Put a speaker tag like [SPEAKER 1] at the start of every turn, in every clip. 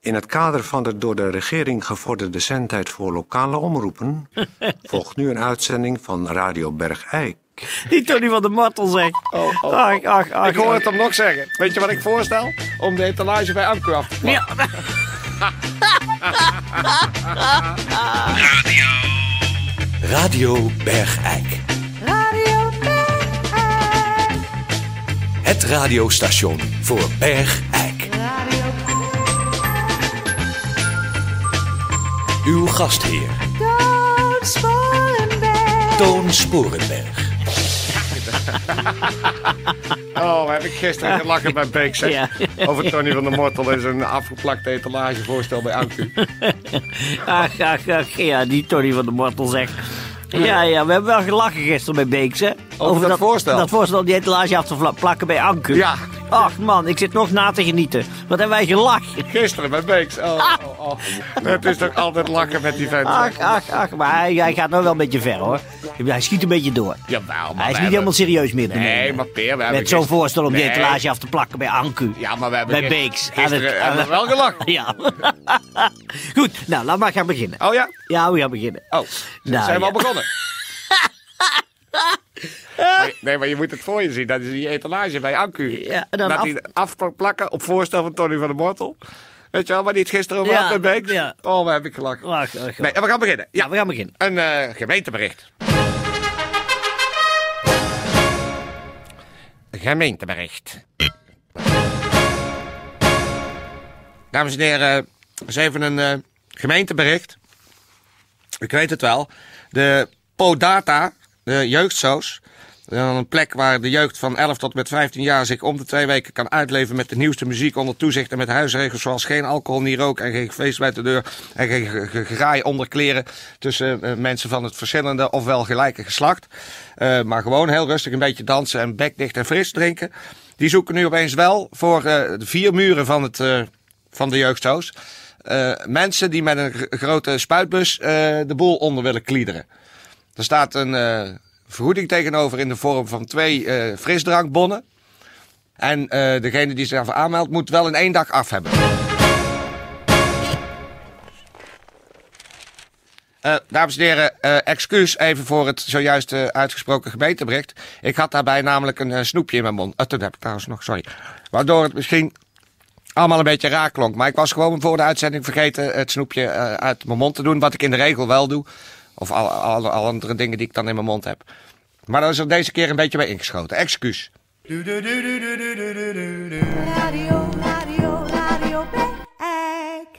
[SPEAKER 1] In het kader van de door de regering gevorderde zendtijd voor lokale omroepen volgt nu een uitzending van Radio Bergijk.
[SPEAKER 2] Die Tony van de Martel zegt.
[SPEAKER 3] Oh, oh, oh.
[SPEAKER 2] Ach, ach, ach.
[SPEAKER 3] Ik hoor
[SPEAKER 2] ach.
[SPEAKER 3] het hem nog zeggen. Weet je wat ik voorstel? Om de etalage bij Amco af te
[SPEAKER 2] Ja.
[SPEAKER 4] Radio Bergijk.
[SPEAKER 5] Radio Bergijk.
[SPEAKER 4] Het radiostation voor Bergijk.
[SPEAKER 5] Radio
[SPEAKER 4] Uw gastheer
[SPEAKER 5] Toon Sporenberg.
[SPEAKER 4] Toon Sporenberg.
[SPEAKER 3] Oh, heb ik gisteren gelachen bij Beek zeg.
[SPEAKER 2] Ja.
[SPEAKER 3] Over Tony van der Mortel en zijn afgeplakte etalagevoorstel bij Amco.
[SPEAKER 2] Ach, ach, ach. Ja, die Tony van de Martel zegt. Ja, ja, we hebben wel gelachen gisteren bij Beeks, hè? Over,
[SPEAKER 3] dat voorstel.
[SPEAKER 2] Dat voorstel om die etalage af te vla- plakken bij Anker.
[SPEAKER 3] Ja.
[SPEAKER 2] Ach man, ik zit nog na te genieten. Wat hebben wij gelachen.
[SPEAKER 3] Gisteren bij Beeks. Oh, oh, oh.
[SPEAKER 2] Ah.
[SPEAKER 3] Het is toch altijd lachen met die vent.
[SPEAKER 2] Ach, ach, ach. Maar hij, hij gaat nou wel een beetje ver, hoor. Hij schiet een beetje door.
[SPEAKER 3] Jawel, maar
[SPEAKER 2] Hij
[SPEAKER 3] we
[SPEAKER 2] is niet
[SPEAKER 3] hebben-
[SPEAKER 2] helemaal serieus meer te
[SPEAKER 3] Nee,
[SPEAKER 2] nemen.
[SPEAKER 3] maar Peer, we hebben
[SPEAKER 2] Met zo'n
[SPEAKER 3] gisteren-
[SPEAKER 2] voorstel om die
[SPEAKER 3] Nee.
[SPEAKER 2] etalage af te plakken bij Anku.
[SPEAKER 3] Ja, maar we hebben
[SPEAKER 2] Bij
[SPEAKER 3] gisteren-
[SPEAKER 2] Beeks. Aan
[SPEAKER 3] Gisteren
[SPEAKER 2] het-
[SPEAKER 3] hebben we wel gelachen.
[SPEAKER 2] Ja. Goed, nou, laat maar gaan beginnen.
[SPEAKER 3] Oh ja?
[SPEAKER 2] Ja, we gaan beginnen.
[SPEAKER 3] Oh,
[SPEAKER 2] Nou,
[SPEAKER 3] zijn we
[SPEAKER 2] ja. Eh.
[SPEAKER 3] al begonnen? Maar- Nee, maar je moet het voor je zien. Dat is die etalage bij Anku.
[SPEAKER 2] Ja, en dan
[SPEAKER 3] dat
[SPEAKER 2] af-
[SPEAKER 3] die afplakken op voorstel van Tony van der Mortel. Weet je wel, waar die het gisteren over
[SPEAKER 2] Ja,
[SPEAKER 3] had met Beeks?
[SPEAKER 2] ja.
[SPEAKER 3] Oh, we hebben gelachen.
[SPEAKER 2] Ach, ach, ach.
[SPEAKER 3] Nee, en we gaan beginnen.
[SPEAKER 2] Ja,
[SPEAKER 3] Ja,
[SPEAKER 2] we gaan beginnen.
[SPEAKER 3] een eh, gemeentebericht. Gemeentebericht. Dames en heren, eens even een eh, gemeentebericht. Ik weet het wel. De Podata, de jeugdsoos. Een plek waar de jeugd van 11 tot met 15 jaar zich om de twee weken kan uitleven met de nieuwste muziek onder toezicht en met huisregels zoals geen alcohol, niet rook en geen feest bij de deur en geen ge- ge- gegraai onder kleren tussen eh, mensen van het verschillende of wel gelijke geslacht. Eh, maar gewoon heel rustig een beetje dansen en bekdicht en fris drinken. Die zoeken nu opeens wel voor eh, de vier muren van, het, eh, van de jeugdsoos eh, mensen die met een gr- grote spuitbus eh, de boel onder willen kliederen. Er staat een eh, vergoeding tegenover in de vorm van twee eh, frisdrankbonnen. En eh, degene die zich daarvoor aanmeldt moet wel in één dag af hebben. Eh, dames en heren, eh, excuus even voor het zojuist eh, uitgesproken gemeentebericht. Ik had daarbij namelijk een eh, snoepje in mijn mond. Eh, dat heb ik trouwens nog, sorry. Waardoor het misschien allemaal een beetje raar klonk. Maar ik was gewoon voor de uitzending vergeten het snoepje eh, uit mijn mond te doen. Wat ik in de regel wel doe. Of alle alle- alle andere dingen die ik dan in mijn mond heb. Maar dat is er deze keer een beetje bij ingeschoten. Excuus.
[SPEAKER 5] Radio, Radio, Radio Bergijk.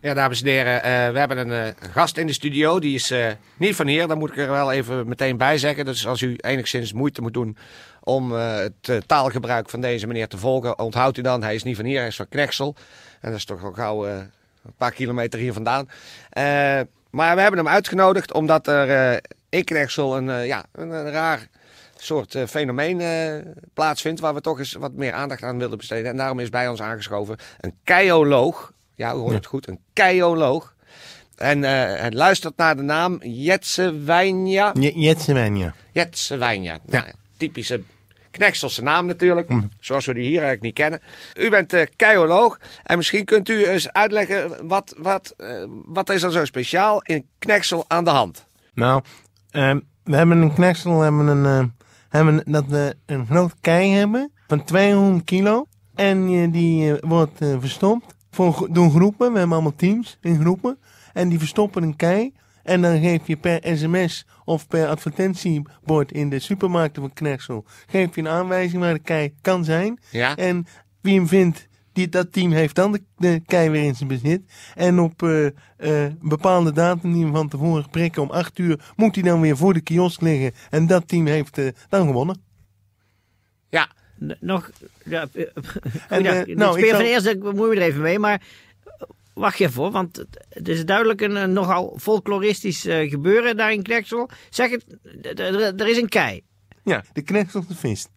[SPEAKER 3] Ja, dames en heren, eh, we hebben een eh, gast in de studio. Die is eh, niet van hier, dat moet ik er wel even meteen bij zeggen. Dus als u enigszins moeite moet doen om eh, het eh, taalgebruik van deze meneer te volgen, onthoudt u dan, hij is niet van hier, hij is van Knechtsel. En dat is toch al gauw eh, een paar kilometer hier vandaan. Eh, maar we hebben hem uitgenodigd omdat er eh, in Knechtsel een, eh, ja, een, een raar soort eh, fenomeen eh, plaatsvindt... waar we toch eens wat meer aandacht aan willen besteden. En daarom is bij ons aangeschoven een keioloog. Ja, u hoort het goed, een keioloog. En eh, hij luistert naar de naam Jetse Wijnja.
[SPEAKER 6] Je- Jetsemania.
[SPEAKER 3] Jetse Wijnja. Nou, typische Knekselse naam natuurlijk, zoals we die hier eigenlijk niet kennen. U bent eh keioloog en misschien kunt u eens uitleggen wat, wat, eh, wat is er zo speciaal in Kneksel aan de hand?
[SPEAKER 6] Nou, ehm, we hebben een kneksel, we hebben een, ehm, hebben een- dat we een groot kei hebben van 200 kilo. En eh, die eh, wordt eh, verstopt voor, gro- door groepen. We hebben allemaal teams in groepen. En die verstoppen een kei. En dan geef je per sms of per advertentiebord in de supermarkten van Kneksel... geef je een aanwijzing waar de kei kan zijn.
[SPEAKER 3] Ja.
[SPEAKER 6] En wie hem vindt, die, dat team heeft dan de, de kei weer in zijn bezit. En op eh, eh, een bepaalde datum die we van tevoren prikken, om 8 uur, moet hij dan weer voor de kiosk liggen. En dat team heeft eh, dan gewonnen.
[SPEAKER 3] Ja,
[SPEAKER 2] N- Nog. Ja, eh,
[SPEAKER 6] En,
[SPEAKER 2] ja,
[SPEAKER 6] eh,
[SPEAKER 2] ik
[SPEAKER 6] nou,
[SPEAKER 2] speel
[SPEAKER 6] ik
[SPEAKER 2] van
[SPEAKER 6] zal-
[SPEAKER 2] eerst, ik bemoei me er even mee, maar. eh, Wacht even hoor, want het- het is duidelijk een, eh, nogal folkloristisch eh, gebeuren daar in Kneksel. Zeg het, d- d- d- er is een kei.
[SPEAKER 6] Ja, de knekselse vist.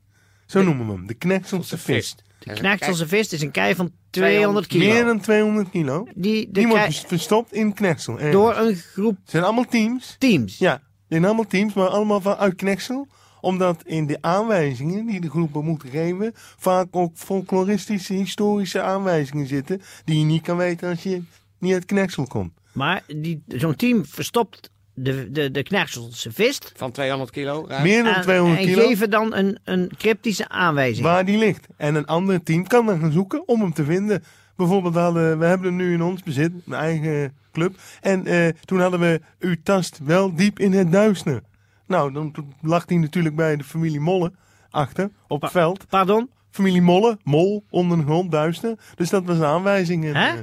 [SPEAKER 6] Zo noemen we hem, de knekselse vist.
[SPEAKER 2] De Knekselse vist is een kei van 200
[SPEAKER 6] Meer
[SPEAKER 2] kilo.
[SPEAKER 6] dan 200 kilo.
[SPEAKER 2] Die, de
[SPEAKER 6] Die wordt
[SPEAKER 2] kei-
[SPEAKER 6] vers- verstopt in kneksel. ergens.
[SPEAKER 2] door een groep
[SPEAKER 6] Het zijn allemaal teams.
[SPEAKER 2] teams.
[SPEAKER 6] Ja, het zijn allemaal teams, maar allemaal van uit kneksel. Omdat in de aanwijzingen die de groepen moeten geven, vaak ook folkloristische, historische aanwijzingen zitten. Die je niet kan weten als je niet uit Knechtsel komt.
[SPEAKER 2] Maar die- zo'n team verstopt de, de, de knerselse vist.
[SPEAKER 3] Van 200 kilo. ruim.
[SPEAKER 6] Meer dan
[SPEAKER 2] en-
[SPEAKER 6] 200
[SPEAKER 2] Ah, en
[SPEAKER 6] kilo.
[SPEAKER 2] geven dan een, een cryptische aanwijzing.
[SPEAKER 6] waar die ligt. En een ander team kan dan gaan zoeken om hem te vinden. Bijvoorbeeld, hadden, we hebben hem nu in ons bezit, een eigen club. En eh, toen hadden we U tast wel diep in het duistere. Nou, dan toen lag hij natuurlijk bij de familie Molle achter, op het veld.
[SPEAKER 2] Pardon?
[SPEAKER 6] Familie Molle, Mol, onder de grond, duister. Dus dat was een aanwijzing. eh,
[SPEAKER 2] Hè?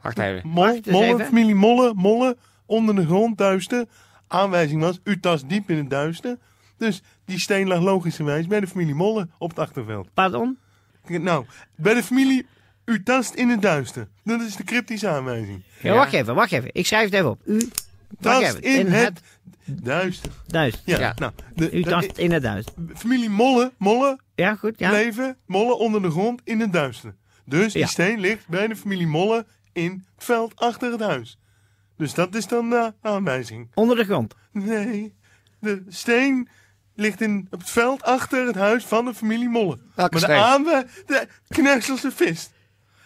[SPEAKER 3] Wacht even.
[SPEAKER 6] Mol,
[SPEAKER 2] Wacht eens
[SPEAKER 6] Molle,
[SPEAKER 2] even.
[SPEAKER 6] familie Molle, Molle, onder de grond, duister. Aanwijzing was, U tast diep in het duister. Dus die steen lag logischerwijs bij de familie Molle op het achterveld.
[SPEAKER 2] Pardon?
[SPEAKER 6] Nou, bij de familie, u tast in het duister. Dat is de cryptische aanwijzing.
[SPEAKER 2] Ja, Wacht even, wacht even. Ik schrijf het even op. U wacht
[SPEAKER 6] Tast
[SPEAKER 2] even.
[SPEAKER 6] in het duister.
[SPEAKER 2] Duits.
[SPEAKER 6] Ja,
[SPEAKER 3] Ja.
[SPEAKER 6] nou, de,
[SPEAKER 2] U
[SPEAKER 6] de-
[SPEAKER 2] tast in het Duits.
[SPEAKER 6] familie Molle, Molle,
[SPEAKER 2] Ja, goed. Ja.
[SPEAKER 6] leven, Molle onder de grond in het duister. Dus die
[SPEAKER 2] Ja.
[SPEAKER 6] steen ligt bij de familie Molle in het veld achter het huis. Dus dat is dan de aanwijzing.
[SPEAKER 2] Onder de grond.
[SPEAKER 6] Nee, de steen ligt in, op het veld achter het huis van de familie Molle.
[SPEAKER 3] Welke
[SPEAKER 6] maar de
[SPEAKER 3] steen?
[SPEAKER 6] aanwij- de Knesselse vis.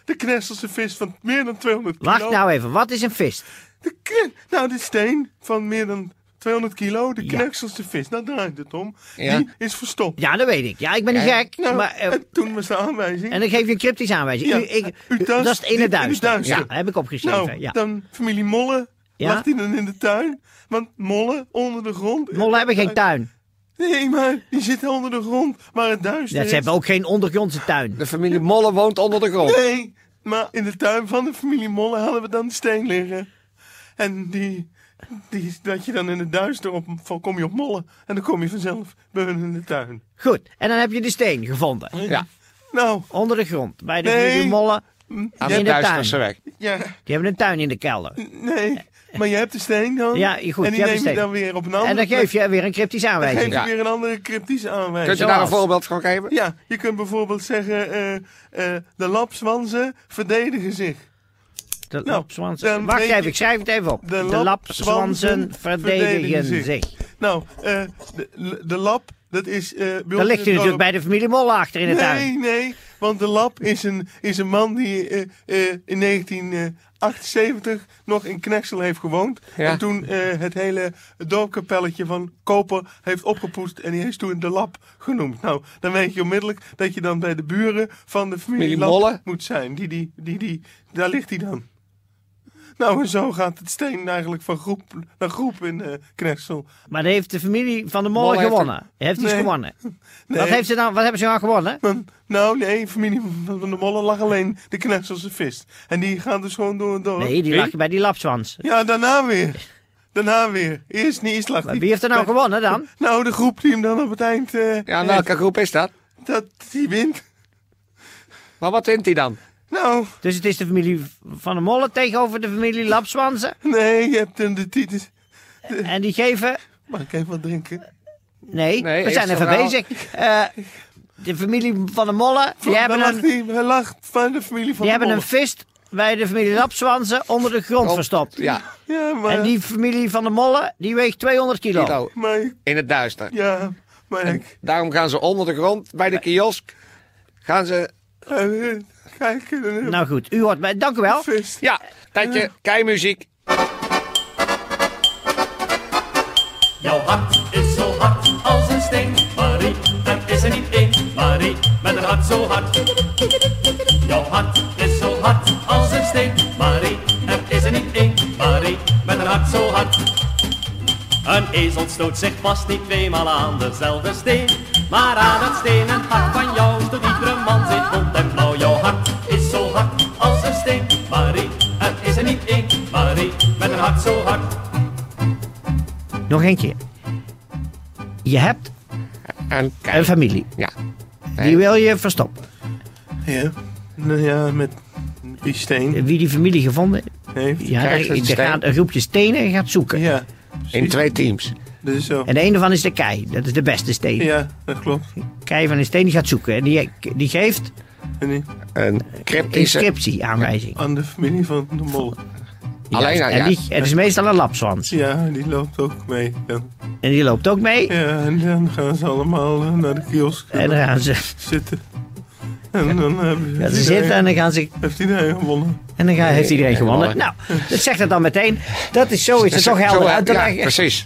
[SPEAKER 6] De Knesselse vis van meer dan 200 kilo.
[SPEAKER 2] Wacht nou even. Wat is een vist?
[SPEAKER 6] De kn- nou, de steen van meer dan 200 kilo, de
[SPEAKER 2] Ja.
[SPEAKER 6] knekselse vis, nou draait het om,
[SPEAKER 3] Ja.
[SPEAKER 6] die is verstopt.
[SPEAKER 2] Ja, dat weet ik. Ja, ik ben niet
[SPEAKER 3] Ja,
[SPEAKER 2] gek.
[SPEAKER 6] Nou,
[SPEAKER 2] maar, eh,
[SPEAKER 6] en toen was de aanwijzing.
[SPEAKER 2] en dan geef je een cryptische aanwijzing.
[SPEAKER 6] Ja,
[SPEAKER 2] u, ik,
[SPEAKER 6] u
[SPEAKER 2] u-
[SPEAKER 6] tast
[SPEAKER 2] dat is het in het
[SPEAKER 6] diep in het
[SPEAKER 2] duister.
[SPEAKER 6] duister.
[SPEAKER 2] Ja, heb ik opgeschreven.
[SPEAKER 6] nou,
[SPEAKER 2] ja.
[SPEAKER 6] dan familie Molle,
[SPEAKER 2] Ja.
[SPEAKER 6] lag die dan in de tuin? Want mollen onder de grond.
[SPEAKER 2] Mollen hebben geen tuin.
[SPEAKER 6] Nee, maar die zitten onder de grond, maar het duister
[SPEAKER 2] Ja,
[SPEAKER 6] is.
[SPEAKER 2] ze hebben ook geen ondergrondse tuin.
[SPEAKER 3] De familie Molle woont onder de grond.
[SPEAKER 6] Nee, maar in de tuin van de familie Molle hadden we dan de steen liggen. En die, die, dat je dan in het duister op, van- kom je op Molle. En dan kom je vanzelf bij hun in de tuin.
[SPEAKER 2] Goed. En dan heb je de steen gevonden.
[SPEAKER 3] Ja,
[SPEAKER 6] Nou,
[SPEAKER 2] Onder de grond. Bij de
[SPEAKER 6] Nee.
[SPEAKER 2] nee. mollen.
[SPEAKER 3] aan
[SPEAKER 2] In
[SPEAKER 3] de
[SPEAKER 2] de
[SPEAKER 3] duisterse
[SPEAKER 2] tuin.
[SPEAKER 3] weg.
[SPEAKER 6] ja,
[SPEAKER 2] Die hebben een tuin in de kelder.
[SPEAKER 6] nee. Maar je hebt de steen dan.
[SPEAKER 2] Ja, goed,
[SPEAKER 6] En
[SPEAKER 2] je
[SPEAKER 6] die
[SPEAKER 2] hebt
[SPEAKER 6] neem
[SPEAKER 2] de
[SPEAKER 6] je
[SPEAKER 2] steen.
[SPEAKER 6] dan weer op een andere
[SPEAKER 2] En dan geef je weer een cryptische
[SPEAKER 6] plek. Geef
[SPEAKER 2] aanwijzing.
[SPEAKER 6] je
[SPEAKER 3] Ja.
[SPEAKER 6] weer een andere cryptische
[SPEAKER 3] Kunt
[SPEAKER 6] aanwijzing.
[SPEAKER 3] je daar een
[SPEAKER 2] Zoals?
[SPEAKER 3] voorbeeld van geven?
[SPEAKER 6] Ja, je kunt bijvoorbeeld zeggen, eh, eh, de lapzwanzen verdedigen zich.
[SPEAKER 2] De
[SPEAKER 6] Nou,
[SPEAKER 2] lapzwansen.
[SPEAKER 6] dan
[SPEAKER 2] Wacht
[SPEAKER 6] weet je-
[SPEAKER 2] even, ik schrijf het even op.
[SPEAKER 6] De
[SPEAKER 2] De
[SPEAKER 6] lapzwansen
[SPEAKER 2] lapzwansen verdedigen
[SPEAKER 6] verdedigen
[SPEAKER 2] zich.
[SPEAKER 6] Nou, eh, de, de lap, dat is... eh bij ons
[SPEAKER 2] Dan
[SPEAKER 6] in
[SPEAKER 2] ligt
[SPEAKER 6] het
[SPEAKER 2] hij natuurlijk
[SPEAKER 6] dorp-
[SPEAKER 2] bij de familie Molle achter in de tuin.
[SPEAKER 6] Nee, nee, want de lap is een, is een man die eh, eh, in 1978 nog in Knexel heeft gewoond.
[SPEAKER 3] Ja.
[SPEAKER 6] En toen eh, het hele dorpkapelletje van Koper heeft opgepoetst en die heeft toen de lap genoemd. Nou, dan weet je onmiddellijk dat je dan bij de buren van de familie
[SPEAKER 3] Familie
[SPEAKER 6] Lap
[SPEAKER 3] Molle.
[SPEAKER 6] moet zijn. Die, die, die, die, daar ligt hij dan. Nou, en zo gaat het steen eigenlijk van groep naar groep in eh Knexel.
[SPEAKER 2] Maar dan heeft de familie van de Molle,
[SPEAKER 3] Molle heeft
[SPEAKER 2] gewonnen. Heeft, iets
[SPEAKER 6] Nee.
[SPEAKER 2] gewonnen.
[SPEAKER 6] Nee.
[SPEAKER 2] Wat, heeft ze dan, wat hebben ze nou gewonnen?
[SPEAKER 6] Dan- nou, nee, familie van de Molle lag alleen de Knesselse vist. En die gaan dus gewoon door en door.
[SPEAKER 2] Nee, die
[SPEAKER 3] Wie?
[SPEAKER 2] lag bij die lapzwans.
[SPEAKER 6] Ja, daarna weer. Daarna weer. Eerst niet, eerst lag
[SPEAKER 2] Maar
[SPEAKER 6] die-
[SPEAKER 2] wie heeft er nou
[SPEAKER 6] bij-
[SPEAKER 2] gewonnen dan?
[SPEAKER 6] Nou, de groep die hem dan op het eind... eh,
[SPEAKER 3] Ja, nou, aan welke groep is dat?
[SPEAKER 6] dat die wint.
[SPEAKER 3] Maar wat wint hij dan?
[SPEAKER 6] Nou,
[SPEAKER 2] Dus het is de familie van de Molle tegenover de familie Lapzwansen.
[SPEAKER 6] nee, je hebt hem de titels.
[SPEAKER 2] En die geven...
[SPEAKER 6] Mag ik even wat drinken?
[SPEAKER 2] Nee,
[SPEAKER 3] Nee,
[SPEAKER 2] we zijn
[SPEAKER 3] eerst
[SPEAKER 2] even
[SPEAKER 3] verhaal.
[SPEAKER 2] bezig. Eh, de familie van de Molle, die
[SPEAKER 6] Daar
[SPEAKER 2] hebben
[SPEAKER 6] lag
[SPEAKER 2] een,
[SPEAKER 6] die- Hij lag van de familie
[SPEAKER 2] die
[SPEAKER 6] van de
[SPEAKER 2] hebben een
[SPEAKER 6] Molle.
[SPEAKER 2] vist bij de familie Lapzwansen onder de grond
[SPEAKER 3] Op-
[SPEAKER 2] verstopt.
[SPEAKER 3] Ja,
[SPEAKER 6] Ja, maar...
[SPEAKER 2] En die familie van de Molle, die weegt 200 kilo.
[SPEAKER 3] kilo.
[SPEAKER 6] maar-
[SPEAKER 3] In het duister.
[SPEAKER 6] ja, maar ik...
[SPEAKER 3] Daarom gaan ze onder de grond bij de kiosk. Gaan ze.
[SPEAKER 6] ga weer kijken. eh,
[SPEAKER 2] Nou goed, u hoort mij. Dank u wel.
[SPEAKER 6] vist.
[SPEAKER 3] Ja, tijdje keimuziek.
[SPEAKER 7] Jouw hart is zo hard als een steen, Marie. Er is er niet één, Marie, met een hart zo hard. Jouw hart is zo hard als een steen, Marie. Er is er niet één, Marie, met een hart zo hard. Een ezel stoot zich vast niet tweemaal aan dezelfde steen. Maar aan het stenen hart van jou stoot iedere man zit rond en blauw. Jouw hart is zo hard als een steen, Marie. Er is er niet één, Marie, met een hart zo hard.
[SPEAKER 2] Nog eentje. Je hebt
[SPEAKER 3] En
[SPEAKER 2] een
[SPEAKER 3] kei.
[SPEAKER 2] familie.
[SPEAKER 3] Ja.
[SPEAKER 2] Die wil je verstoppen.
[SPEAKER 6] Ja. Nou ja, met die steen
[SPEAKER 2] Wie die familie gevonden heeft,
[SPEAKER 6] heeft...
[SPEAKER 2] ja,
[SPEAKER 3] Krijgt
[SPEAKER 2] daar,
[SPEAKER 3] een
[SPEAKER 2] daar
[SPEAKER 3] steen.
[SPEAKER 2] gaat een groepje stenen en gaat zoeken.
[SPEAKER 6] Ja,
[SPEAKER 3] In twee teams.
[SPEAKER 6] dat is zo.
[SPEAKER 2] En de ene van is de kei. Dat is de beste steen.
[SPEAKER 6] Ja, dat klopt.
[SPEAKER 2] Kei van een steen die gaat zoeken. En die, die geeft
[SPEAKER 6] En die
[SPEAKER 3] Een cryptische.
[SPEAKER 2] inscriptie aanwijzing.
[SPEAKER 6] aan de familie van de mol.
[SPEAKER 3] Alleen, nou
[SPEAKER 2] en
[SPEAKER 3] ja.
[SPEAKER 2] die, het is meestal een lapswans.
[SPEAKER 6] Ja, die loopt ook mee. Dan.
[SPEAKER 2] En die loopt ook mee.
[SPEAKER 6] Ja, en dan gaan ze allemaal eh, naar de kiosk
[SPEAKER 2] En dan gaan ze,
[SPEAKER 6] zitten. En dan hebben
[SPEAKER 2] ja, ze
[SPEAKER 6] heeft
[SPEAKER 2] zitten en
[SPEAKER 6] iedereen-
[SPEAKER 2] dan gaan ze
[SPEAKER 6] heeft iedereen gewonnen.
[SPEAKER 2] En dan ga- heeft iedereen gewonnen. Nou, dat zegt het dan meteen. Dat is zo, is het toch helder uit te
[SPEAKER 3] ja,
[SPEAKER 2] leggen.
[SPEAKER 3] precies.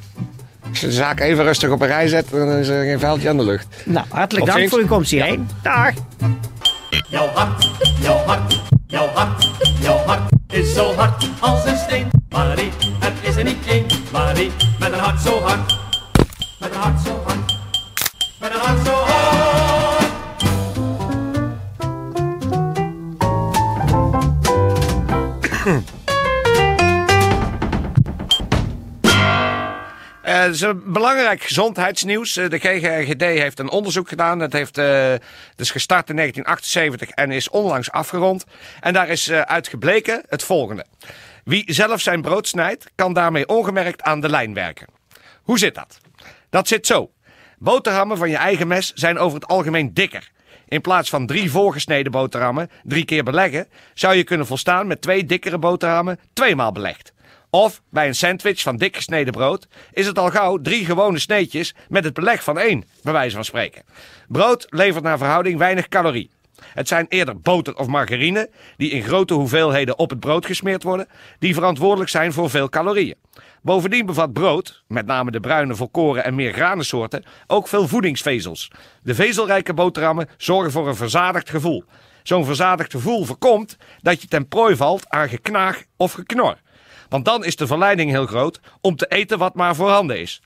[SPEAKER 3] Als je de zaak even rustig op een rij zet, dan is er geen veldje aan de lucht.
[SPEAKER 2] Nou, hartelijk
[SPEAKER 3] Tot
[SPEAKER 2] dank
[SPEAKER 3] ziens.
[SPEAKER 2] voor uw komst hierheen. Dag.
[SPEAKER 7] Jouw hart, jouw hart, jouw hart, jouw hart is zo hard als een steen. Marie, het is er niet één. Marie, met een hart zo hard. Met een hart zo hard. Met een hart zo hard.
[SPEAKER 3] Eh, Het is een belangrijk gezondheidsnieuws. Eh, De GGD heeft een onderzoek gedaan. Dat heeft, eh, dus gestart in 1978 en is onlangs afgerond. En daar is eh, uit gebleken het volgende. Wie zelf zijn brood snijdt, kan daarmee ongemerkt aan de lijn werken. Hoe zit dat? Dat zit zo. Boterhammen van je eigen mes zijn over het algemeen dikker. In plaats van drie voorgesneden boterhammen drie keer beleggen, zou je kunnen volstaan met twee dikkere boterhammen tweemaal belegd. Of bij een sandwich van dik gesneden brood is het al gauw drie gewone sneetjes met het beleg van één, bij wijze van spreken. Brood levert naar verhouding weinig calorie. Het zijn eerder boter of margarine, die in grote hoeveelheden op het brood gesmeerd worden, die verantwoordelijk zijn voor veel calorieën. Bovendien bevat brood, met name de bruine, volkoren en meer granensoorten, ook veel voedingsvezels. De vezelrijke boterhammen zorgen voor een verzadigd gevoel. Zo'n verzadigd gevoel voorkomt dat je ten prooi valt aan geknaag of geknor. Want dan is de verleiding heel groot om te eten wat maar voorhanden is.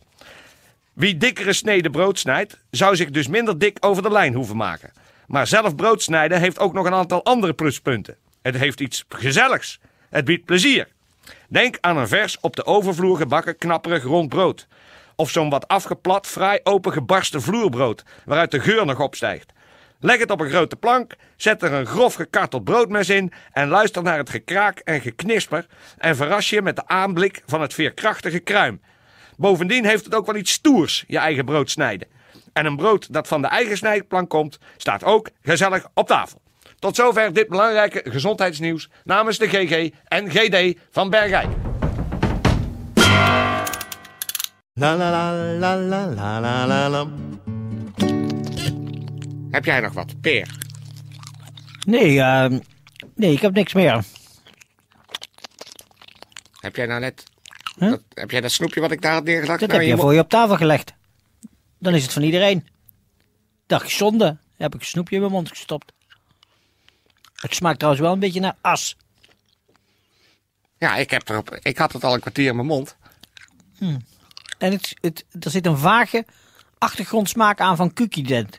[SPEAKER 3] Wie dikkere sneden brood snijdt, zou zich dus minder dik over de lijn hoeven maken. Maar zelf brood snijden heeft ook nog een aantal andere pluspunten. Het heeft iets gezelligs. Het biedt plezier. Denk aan een vers op de overvloer gebakken knapperig rond brood. Of zo'n wat afgeplat, fraai opengebarsten vloerbrood, waaruit de geur nog opstijgt. Leg het op een grote plank, zet er een grof gekarteld broodmes in en luister naar het gekraak en geknisper en verras je met de aanblik van het veerkrachtige kruim. Bovendien heeft het ook wel iets stoers, je eigen brood snijden. En een brood dat van de eigen snijplank komt, staat ook gezellig op tafel. Tot zover dit belangrijke gezondheidsnieuws namens de GG en GD van Bergijk.
[SPEAKER 6] La la la la la la la la la.
[SPEAKER 3] Heb jij nog wat, Peer?
[SPEAKER 2] Nee, eh, nee, ik heb niks meer.
[SPEAKER 3] Heb jij nou net...
[SPEAKER 2] Huh?
[SPEAKER 3] Dat, heb jij dat snoepje wat ik daar had neergelegd?
[SPEAKER 2] Dat
[SPEAKER 3] nou
[SPEAKER 2] heb je
[SPEAKER 3] in mo-
[SPEAKER 2] voor je op tafel gelegd. Dan is het van iedereen. Dag zonde. Heb ik een snoepje in mijn mond gestopt. Het smaakt trouwens wel een beetje naar as.
[SPEAKER 3] Ja, ik, heb erop, ik had het al een kwartier in mijn mond.
[SPEAKER 2] En het, het, er zit een vage achtergrondsmaak aan van kukident.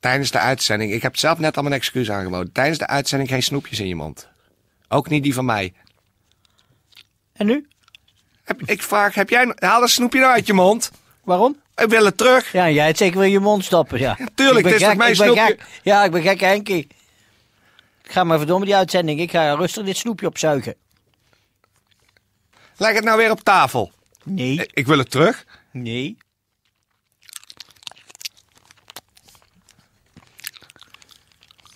[SPEAKER 3] Tijdens de uitzending... Ik heb zelf net al mijn excuus aangeboden. Tijdens de uitzending geen snoepjes in je mond. Ook niet die van mij.
[SPEAKER 2] En nu?
[SPEAKER 3] Heb- ik vraag, heb jij... Haal een snoepje nou uit je mond.
[SPEAKER 2] Waarom?
[SPEAKER 3] Ik wil het terug.
[SPEAKER 2] Ja, en jij het zeker weer in je mond stoppen, ja.
[SPEAKER 3] tuurlijk,
[SPEAKER 2] Ik ben
[SPEAKER 3] het is toch mijn
[SPEAKER 2] ik ben
[SPEAKER 3] snoepje?
[SPEAKER 2] gek. Ja, ik ben gek Henkie. Ik ga maar verdomme die uitzending. Ik ga rustig dit snoepje opzuigen.
[SPEAKER 3] Leg het nou weer op tafel.
[SPEAKER 2] Nee,
[SPEAKER 3] Ik, ik wil het terug.
[SPEAKER 2] nee.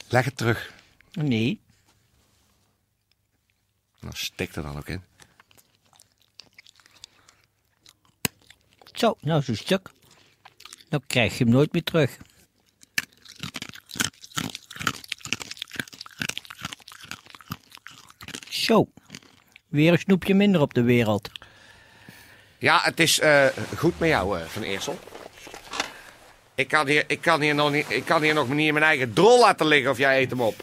[SPEAKER 3] Leg het terug.
[SPEAKER 2] Nee.
[SPEAKER 3] Nou, stik er dan ook in.
[SPEAKER 2] Zo, nou zo'n stuk. Dan krijg je hem nooit meer terug. Zo. Weer een snoepje minder op de wereld.
[SPEAKER 3] Ja, het is eh, goed met jou, eh, Van Eersel. Ik kan, hier, ik, kan hier nog niet, ik kan hier nog niet in mijn eigen drol laten liggen of jij eet hem op.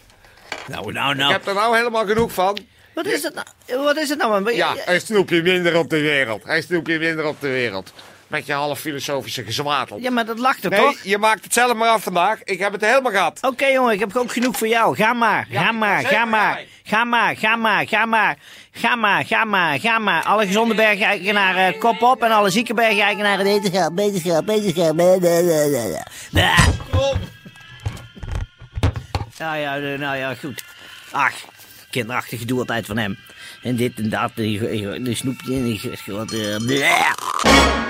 [SPEAKER 2] Nou, nou,
[SPEAKER 3] Ik
[SPEAKER 2] nou.
[SPEAKER 3] heb er nou helemaal genoeg van.
[SPEAKER 2] Wat is het nou? Wat is het nou? man?
[SPEAKER 3] Ja, een snoepje minder op de wereld. Een snoepje minder op de wereld. Met je half filosofische gezwatel.
[SPEAKER 2] Ja, maar dat lacht er
[SPEAKER 3] nee,
[SPEAKER 2] toch?
[SPEAKER 3] je maakt het zelf maar af vandaag. Ik heb het helemaal gehad.
[SPEAKER 2] Oké jongen, ik heb ook genoeg voor jou. Ga maar, ga maar,
[SPEAKER 3] zeker
[SPEAKER 2] ga maar.
[SPEAKER 3] jij.
[SPEAKER 2] Ga maar, ga maar, ga maar. Ga maar, ga maar, ga maar. Alle gezonde bergeigenaren kop op en alle zieke bergeigenaren wetenschap, wetenschap, wetenschap. blablabla. Blah. Nou ja, eh, nou ja, goed. Ach, kinderachtig gedoe altijd van hem. En dit en dat, en die- die- die snoepje en die grote...